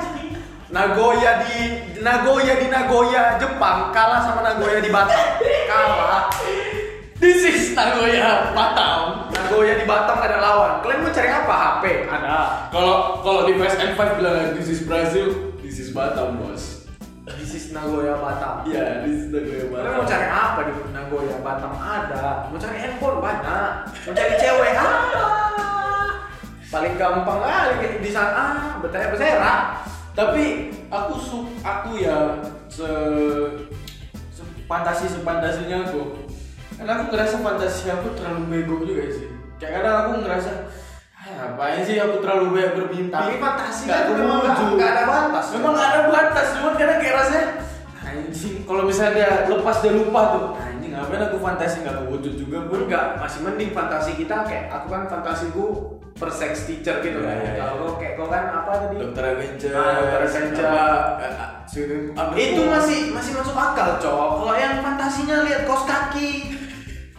Nagoya di Nagoya di Nagoya Jepang kalah sama Nagoya di Batam kalah this is Nagoya Batam Nagoya di Batam ada lawan kalian mau cari apa HP ada kalau kalau di Fast and Five bilang this is Brazil this is Batam bos this is Nagoya Batam ya this is Nagoya kalian mau Batam cari apa di Nagoya Batam ada mau cari handphone banyak mau cari cewek ada paling gampang kali kayak di sana ah, betanya bersera tapi aku su aku ya se fantasi sefantasinya aku karena aku ngerasa fantasi aku terlalu bego juga sih kayak kadang aku ngerasa "Ah, ngapain sih aku terlalu banyak bermimpi Tapi fantasi Nggak kan memang nggak- terwujud." nggak ada batas. memang nggak ada batas cuman kadang kayak rasanya anjing kalau misalnya dia lepas dia lupa tuh anjing ngapain aku fantasi nggak kewujud juga bro enggak masih mending fantasi kita kayak aku kan fantasiku per sex teacher gitu Iya, kan iya, iya. kalau kau kayak kau kan apa tadi dokter Avenger Ah, Dr. Avenger. Avenger itu masih masih masuk akal cowok kalau yang fantasinya lihat kaos kaki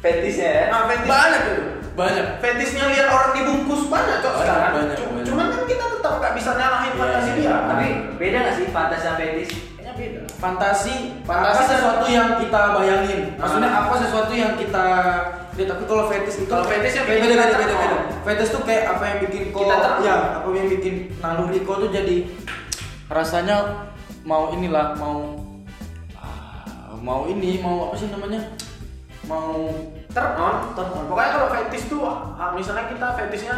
Fetisnya ya. nah, fetis, banyak tuh banyak fetisnya lihat orang dibungkus banyak cowok Banyak, sekarang banyak, Cu- banyak. cuman kan kita tetap nggak bisa nyalahin Iya, fantasi iya. dia Tapi beda nggak sih fantasi sama fetis? kayaknya beda fantasi fantasi sesuatu yang kita bayangin maksudnya apa sesuatu yang kita lihat tapi kalau fetis itu Kalau fetis yang beda bikin beda kita beda beda, terkenal. fetis tuh kayak apa yang bikin kau Kita terkenal. ya apa yang bikin naluri kau tuh jadi rasanya mau inilah mau ah, mau ini mau apa sih namanya mau turn on Turn on. pokoknya kalau fetis tuh ah, misalnya kita fetisnya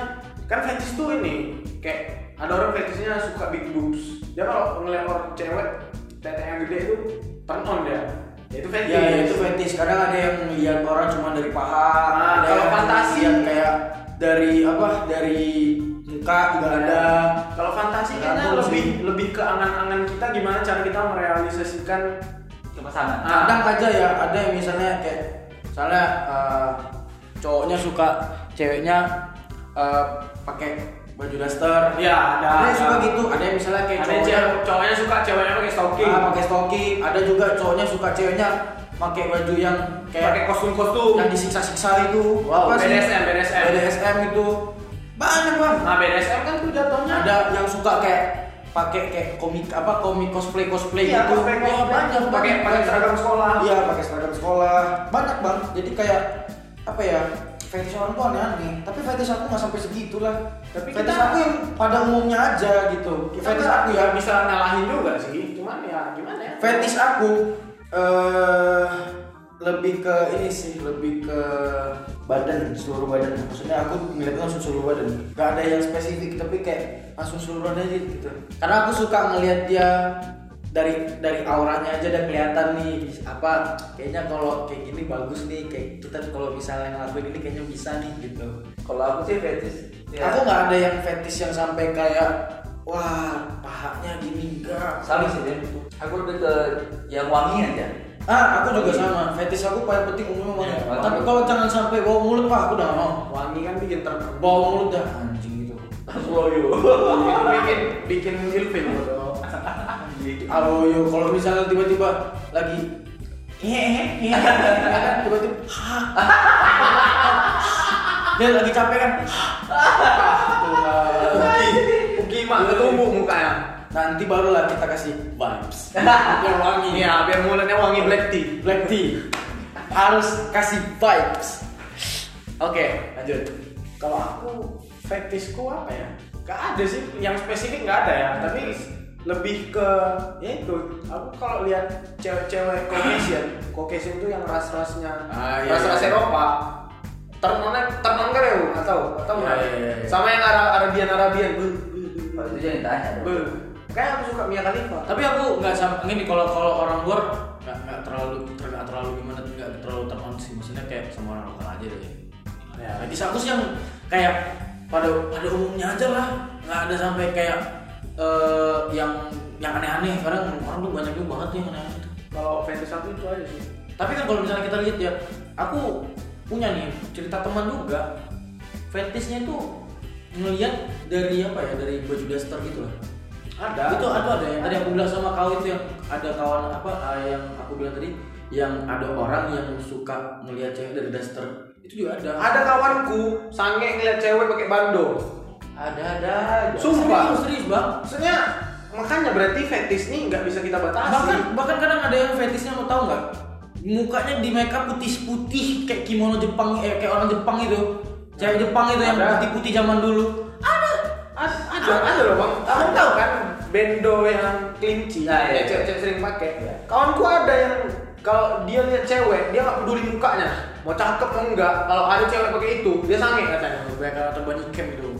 kan fetis tuh ini kayak ada orang fetisnya suka big boobs dia kalau ngeliat orang cewek tete yang gede itu turn on dia Ya, itu fetis ya itu fetis kadang ada yang melihat orang cuma dari paha Ah, ada kalau yang fantasi. yang kayak dari apa dari muka juga ada Kalau fantasi Tergantung kayaknya lebih Ya. sih. lebih ke angan-angan kita gimana cara kita merealisasikan ah, Ke pasangan. kadang aja ya ada yang misalnya kayak misalnya eh, cowoknya suka ceweknya eh, pakai baju daster ya ada ada yang ada. suka gitu ada yang misalnya kayak Ada yang cowoknya cewek- cowoknya suka ceweknya pakai stocking ah, pakai stocking ada juga cowoknya suka ceweknya pakai baju yang pakai kayak kostum-kostum yang disiksa-siksa itu Wow, Apa sih? BDSM, BDSM. BDSM itu gitu. banyak banget nah BDSM kan tuh jatuhnya ada yang suka kayak pakai kayak komik apa komik cosplay cosplay Iya, gitu cosplay, Wah, cosplay. banyak Pakai- banyak, pakai banyak. seragam sekolah. iya pakai seragam sekolah banyak bang jadi kayak apa ya fetish orang tuh aneh-aneh tapi fetish aku nggak sampai segitulah Tapi tapi fetish kita- aku yang pada umumnya aja gitu kita fetish nggak aku ya nggak bisa ngalahin juga sih cuman ya gimana ya fetish aku eh lebih ke ini sih lebih ke badan seluruh badan maksudnya aku ngeliatnya langsung seluruh badan gak ada yang spesifik tapi kayak langsung seluruh badan aja gitu karena aku suka ngelihat dia dari dari auranya aja udah kelihatan nih apa kayaknya kalau kayak gini bagus nih kayak kita kalau misalnya ngelakuin ini kayaknya bisa nih gitu Kalau aku sih fetis. Ya. aku nggak ada yang fetish yang sampai kayak wah pahanya gini enggak sama sih Den. Aku lebih ke yang wangi aja. Ah, aku juga sama. Fetish aku paling penting umumnya wangi. Iya, wangi. Tapi kalau jangan sampai bawa mulut, Pak, aku udah nggak mau. wangi kan bikin ter Bawa mulut dah anjing itu. Loyo. bikin bikin bikin ilfil gitu Aloyo, kalau misalnya tiba-tiba lagi hehehe, tiba-tiba dia lagi capek kan. Ugi Ugi mah ketumbuk mukanya Nanti barulah kita kasih vibes yang wangi. iya biar mulutnya wangi black tea Black tea harus kasih vibes. Oke, lanjut. kalau aku fetishku apa ya gak ada sih yang spesifik nggak ada ya tapi lebih ke ya itu aku kalau lihat cewek-cewek Caucasian Caucasian tuh yang ras-rasnya Ah, iya, ras-ras iya. Eropa ternonnya ternon kan ya Bu? nggak tahu nggak tahu Iya, nggak? iya, iya, Oh, iya. sama yang Ara- Arabian Arabian bu, bu, bu, Kalau itu jangan ditanya. bu. kayak aku suka Mia Khalifa tapi aku nggak sama ini kalau kalau orang luar nggak nggak terlalu ter- nggak terlalu gimana nggak terlalu teron sih maksudnya kayak sama orang lokal aja deh ya fetish aku sih yang kayak pada pada umumnya aja lah nggak ada sampai kayak eh, yang yang aneh-aneh kadang orang tuh banyak juga banget tuh yang aneh-aneh tuh. kalau fetish aku itu aja sih tapi kan kalau misalnya kita lihat ya aku punya nih cerita teman juga fetishnya itu ngelihat dari apa ya dari baju daster gitu lah ada itu ada ada yang tadi aku bilang sama kau itu yang ada kawan apa ah, yang aku bilang tadi yang ada orang yang suka melihat cewek dari daster itu juga ada ada kawanku sange ngeliat cewek pakai bando ada ada aja. Sumpah. serius, serius bang maksudnya makanya berarti fetish nih nggak bisa kita batasi bahkan bahkan kadang ada yang fetishnya mau tahu nggak mukanya di make up putih putih kayak kimono Jepang eh, kayak orang Jepang itu cewek Jepang itu yang Ada. putih putih zaman dulu ada Ad- ada ada loh bang kamu tahu kan bendo yang kelinci Nah, iya. yang cewek-cewek sering pakai Iya. kawanku ada yang kalau dia lihat cewek dia nggak peduli mukanya mau cakep mau enggak kalau ada cewek pakai itu dia sange katanya banyak atau banyak camp itu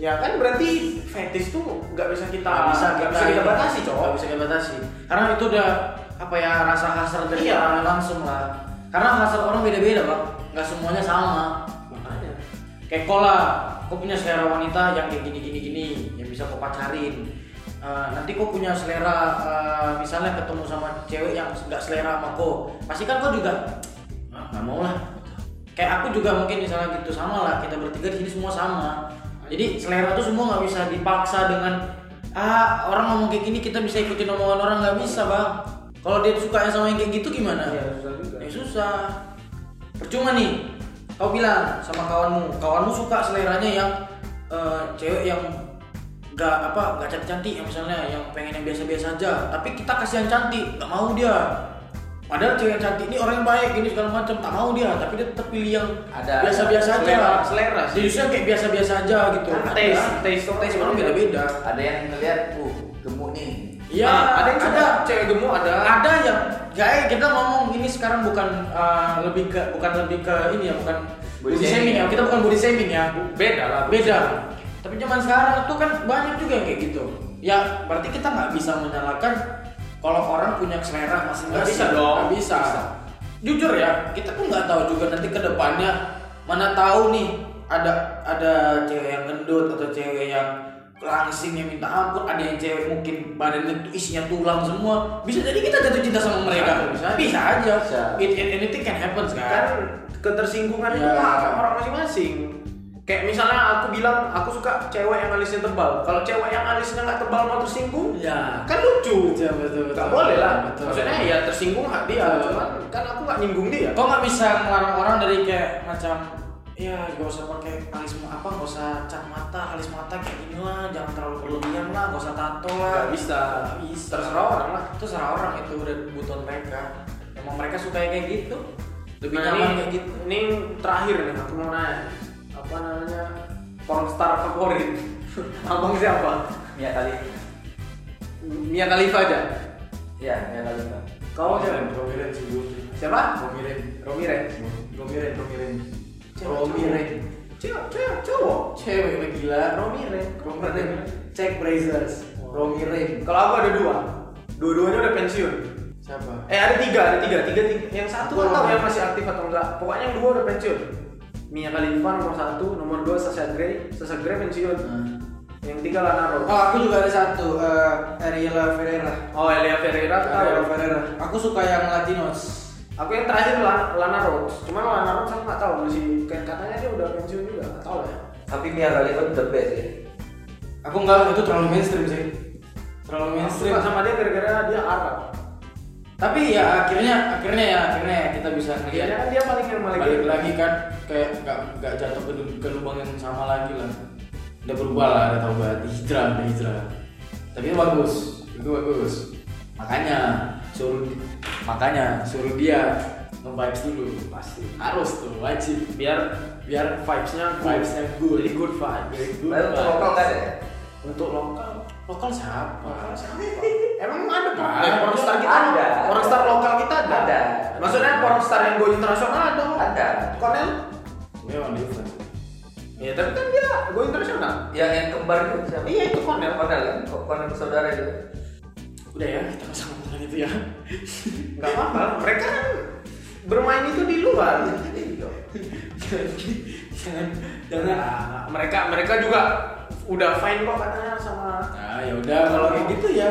ya kan berarti fetish tuh nggak bisa kita Nggak bisa nggak kita, bisa kita ini, batasi cowok nggak bisa kita batasi karena itu udah apa ya rasa hasrat dari Iya. orang langsung lah karena hasrat orang beda-beda bang nggak semuanya sama makanya kayak kola kau punya selera wanita yang kayak gini gini gini yang bisa kau pacarin Eh, nanti kau punya selera eh, misalnya ketemu sama cewek yang nggak selera sama kau pasti kan kau juga "Ah, nggak mau lah kayak aku juga mungkin misalnya gitu sama lah kita bertiga di sini semua sama jadi selera tuh semua nggak bisa dipaksa dengan ah orang ngomong kayak gini kita bisa ikutin omongan orang nggak bisa bang kalau dia suka sama yang kayak gitu gimana Iya, susah juga. ya susah percuma nih kau bilang sama kawanmu kawanmu suka seleranya yang eh, cewek yang nggak apa nggak cantik cantik yang misalnya yang pengen yang biasa biasa aja tapi kita kasih yang cantik nggak mau dia padahal cewek yang cantik ini orang yang baik ini segala macam tak mau dia tapi dia tetap pilih yang Ada. biasa biasa aja Selera, selera sih. jadi justru yang kayak biasa biasa aja gitu Kan Ada. taste, taste orang taste orang beda beda-beda. beda Ada yang ngeliat, uh, gemuk nih. iya Nah, ada yang suka cewek gemuk ada ada yang gaya kita ngomong ini sekarang bukan uh, lebih ke bukan lebih ke ini ya bukan Body body, shaming. shaming ya kita bukan body shaming ya beda lah beda tapi zaman sekarang tuh kan banyak juga yang kayak gitu ya berarti kita nggak bisa menyalahkan kalau orang punya selera Nggak masing-masing bisa dong. Nggak bisa. Bisa. jujur ya kita pun nggak tahu juga nanti kedepannya mana tahu nih ada ada cewek yang gendut atau cewek yang langsing yang minta ampun ada yang cewek mungkin badannya tuh isinya tulang semua bisa jadi kita jatuh cinta sama mereka Bisa, bisa. bisa aja Bisa. It, it- anything can happen kan kan ketersinggungan itu Ya. hak orang masing-masing kayak misalnya aku bilang aku suka cewek yang alisnya tebal kalau cewek yang alisnya nggak tebal mau tersinggung ya kan lucu Betul, betul, betul. nggak boleh lah Betul. maksudnya ya tersinggung hak dia Betul. cuman kan aku nggak nyinggung dia kok nggak bisa ngelarang orang dari kayak macam ya gak usah pakai alis ma- apa gak usah cat mata alis mata kayak gini lah jangan terlalu berlebihan lah gak usah tato lah nggak bisa Nggak bisa terserah orang lah itu serah orang itu udah kebutuhan mereka emang mereka suka yang kayak gitu lebih Nah, nyaman ini- kayak gitu ini terakhir nih aku mau nanya apa namanya pornstar favorit abang siapa Mia kali. Mia Khalifa aja Iya, Mia kali. Bang. kau siapa Romiren sih gue siapa Romiren Romi Ren Romiren Romiren Romi Ren cewek cewek cowok cewek lah gila Romi Ren Romiren Check Brazers Romiren kalau aku ada dua dua-duanya udah pensiun siapa eh ada tiga ada tiga tiga, tiga. yang Aku satu nggak tahu Romi. yang masih aktif atau enggak pokoknya yang dua udah pensiun Mia Khalifa nomor satu nomor dua Sasha Grey Sasha Grey pensiun yang tiga Lana Rhoades Oh, aku juga ada satu, eh, Ariela Ferreira. Oh Elia Ferreira Ariela tahu. Ferreira. Aku suka yang Latinos. Aku yang terakhir Lana, Lana Rhodes. Cuman Lana Rhodes aku nggak tahu masih kayak katanya dia udah pensiun juga nggak tahu lah ya. Tapi Mia kali itu the best ya. Aku enggak, itu terlalu mainstream sih. Terlalu Aku mainstream. suka sama dia gara-gara dia Arab. tapi ya akhirnya akhirnya ya akhirnya ya kita bisa Dia ngeliat kan dia paling yang paling balik lagi kan kayak nggak nggak jatuh ke, ke lubang yang sama lagi lah udah berubah lah udah taubat hijrah udah hijrah tapi itu bagus itu bagus makanya suruh makanya suruh dia nge-vibes dulu pasti harus tuh wajib biar biar vibesnya vibesnya good jadi good vibes jadi good Baru untuk vibes. lokal nggak ada ya? untuk lokal lokal siapa lokal siapa Emang ada pak? Ada. Yang pornstar Nah, kita Ada. Pornstar lokal kita ada. Ada. Maksudnya pornstar yang go internasional ada. kok. Ada. Cornel? memang different Ya tapi kan dia go internasional. Yang yang kembar itu siapa? Iya, itu Cornel. Cornel kan? Kok Cornel bersaudara gitu? udah ya kita pasang omongan itu ya Gak apa-apa. Mereka kan bermain itu di luar. jangan jangan Nah, mereka mereka juga udah fine kok katanya sama. nah ya udah kalau kayak gitu ya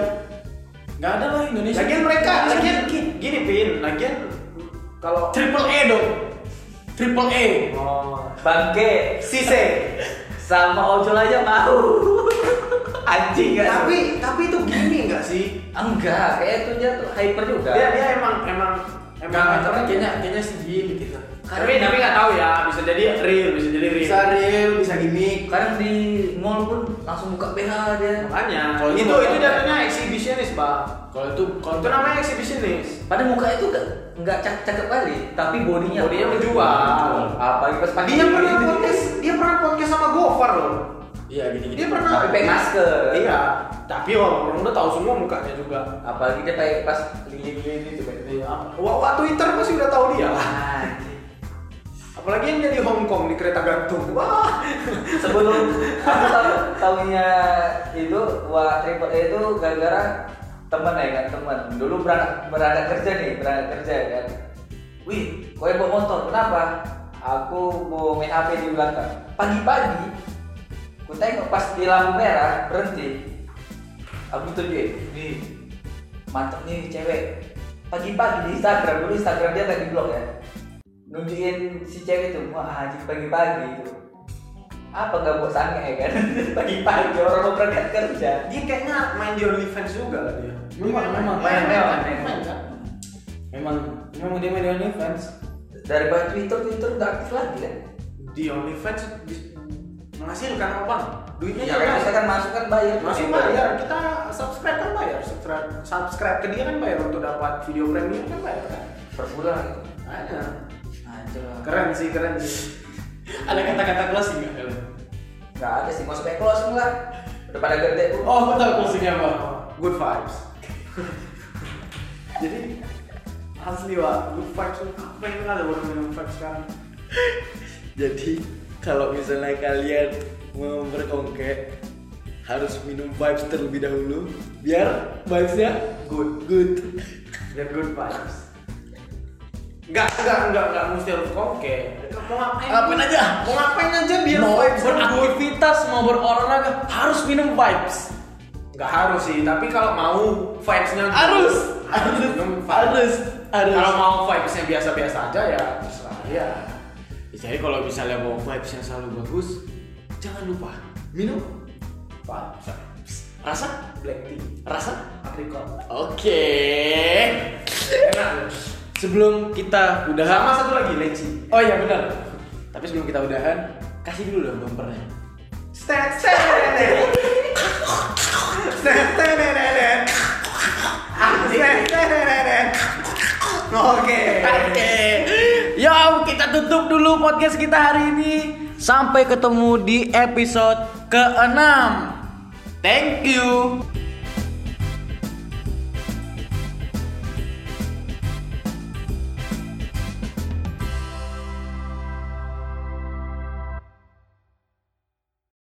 nggak ada lah Indonesia Lagian mereka, Indonesia lagian dikit. gini pin, lagian kalau triple E dong triple E oh, Bangke Sise. sama ojol aja mau. Anjing gak? sih? tapi tapi itu gini nggak sih? enggak, kayak itu dia tuh hyper juga. Dia dia emang emang emang Nggak, tapi kayaknya kayaknya gitu. segini kita tapi tapi nggak tahu ya bisa jadi real bisa jadi real bisa real bisa gimmick Kadang di mall pun langsung buka BH dia. makanya Kalau itu itu itu, bakal- datanya eksibisionis pak kalau itu kalau itu namanya eksibisionis Padahal muka itu gak nggak cakep cakep kali, tapi bodinya. Bodinya menjual. Apa pas pagi dia pernah gitu. podcast dia pernah podcast sama Gofar loh iya gini gini dia pernah Tapi pakai masker. iya tapi orang udah tahu semua mukanya juga Apalagi dia pakai pas gini-gini itu kan. Iya, apa- wah, wah Twitter pasti udah tahu dia iya. apalagi yang dia di Hong Kong di kereta gantung wah Sebelum aku tahu tahunya itu wah triple E itu gara-gara temen ya kan temen dulu berangkat berangkat kerja nih berangkat kerja ya kan wih kowe bawa motor kenapa aku mau main HP di belakang pagi-pagi ku tengok pas di lampu merah berhenti aku tunjukin nih mantep nih cewek pagi-pagi di Instagram dulu Instagram dia nggak di blog ya nunjukin si cewek itu wah haji pagi-pagi itu apa nggak bosannya ya kan pagi-pagi orang mau berangkat kerja dia kayaknya main di OnlyFans juga lah dia memang memang Main, main, main. memang memang dia main di OnlyFans dari Twitter Twitter nggak aktif lagi kan di OnlyFans di- menghasilkan apa bang duitnya Iya, ya jelas. kan kita kan masuk kan bayar Masih Iya, bayar, kita subscribe kan bayar, subscribe, subscribe ke dia kan bayar untuk dapat video premium kan bayar kan. per bulan gitu Ada. anjir Keren sih, keren sih. ada kata-kata closing nggak Hel? nggak ada sih mau sampai closing lah udah pada gede pun oh aku tahu closingnya apa Oh, Good vibes. Jadi asli wah, good vibes. Aku pengen ada buat minum vibes sekarang. Jadi kalau misalnya kalian mau berkongke harus minum vibes terlebih dahulu biar vibesnya Good, good. biar good vibes. Enggak, enggak, enggak, enggak mesti harus koke. Mau ngapain? Ngapain aja? Mau ngapain aja biar mau vibes good. beraktivitas mau berolahraga harus minum vibes Enggak harus sih, tapi kalau mau vibes-nya good, harus harus harus minum vibes. harus harus Kalau mau vibes-nya biasa-biasa aja ya terserah ya. Ya, jadi kalau misalnya mau vibes yang selalu bagus jangan lupa minum Vibes. rasa Black tea, rasa apricot. oke Enak. loh. sebelum kita Sama udahan satu lagi leci. oh iya benar tapi sebelum kita udahan kasih dulu dong bumpernya Stat stat. Stat stat. Ah, Oke. Oke. Yo, kita tutup dulu podcast kita hari ini. Sampai ketemu di episode ke-6. Thank you.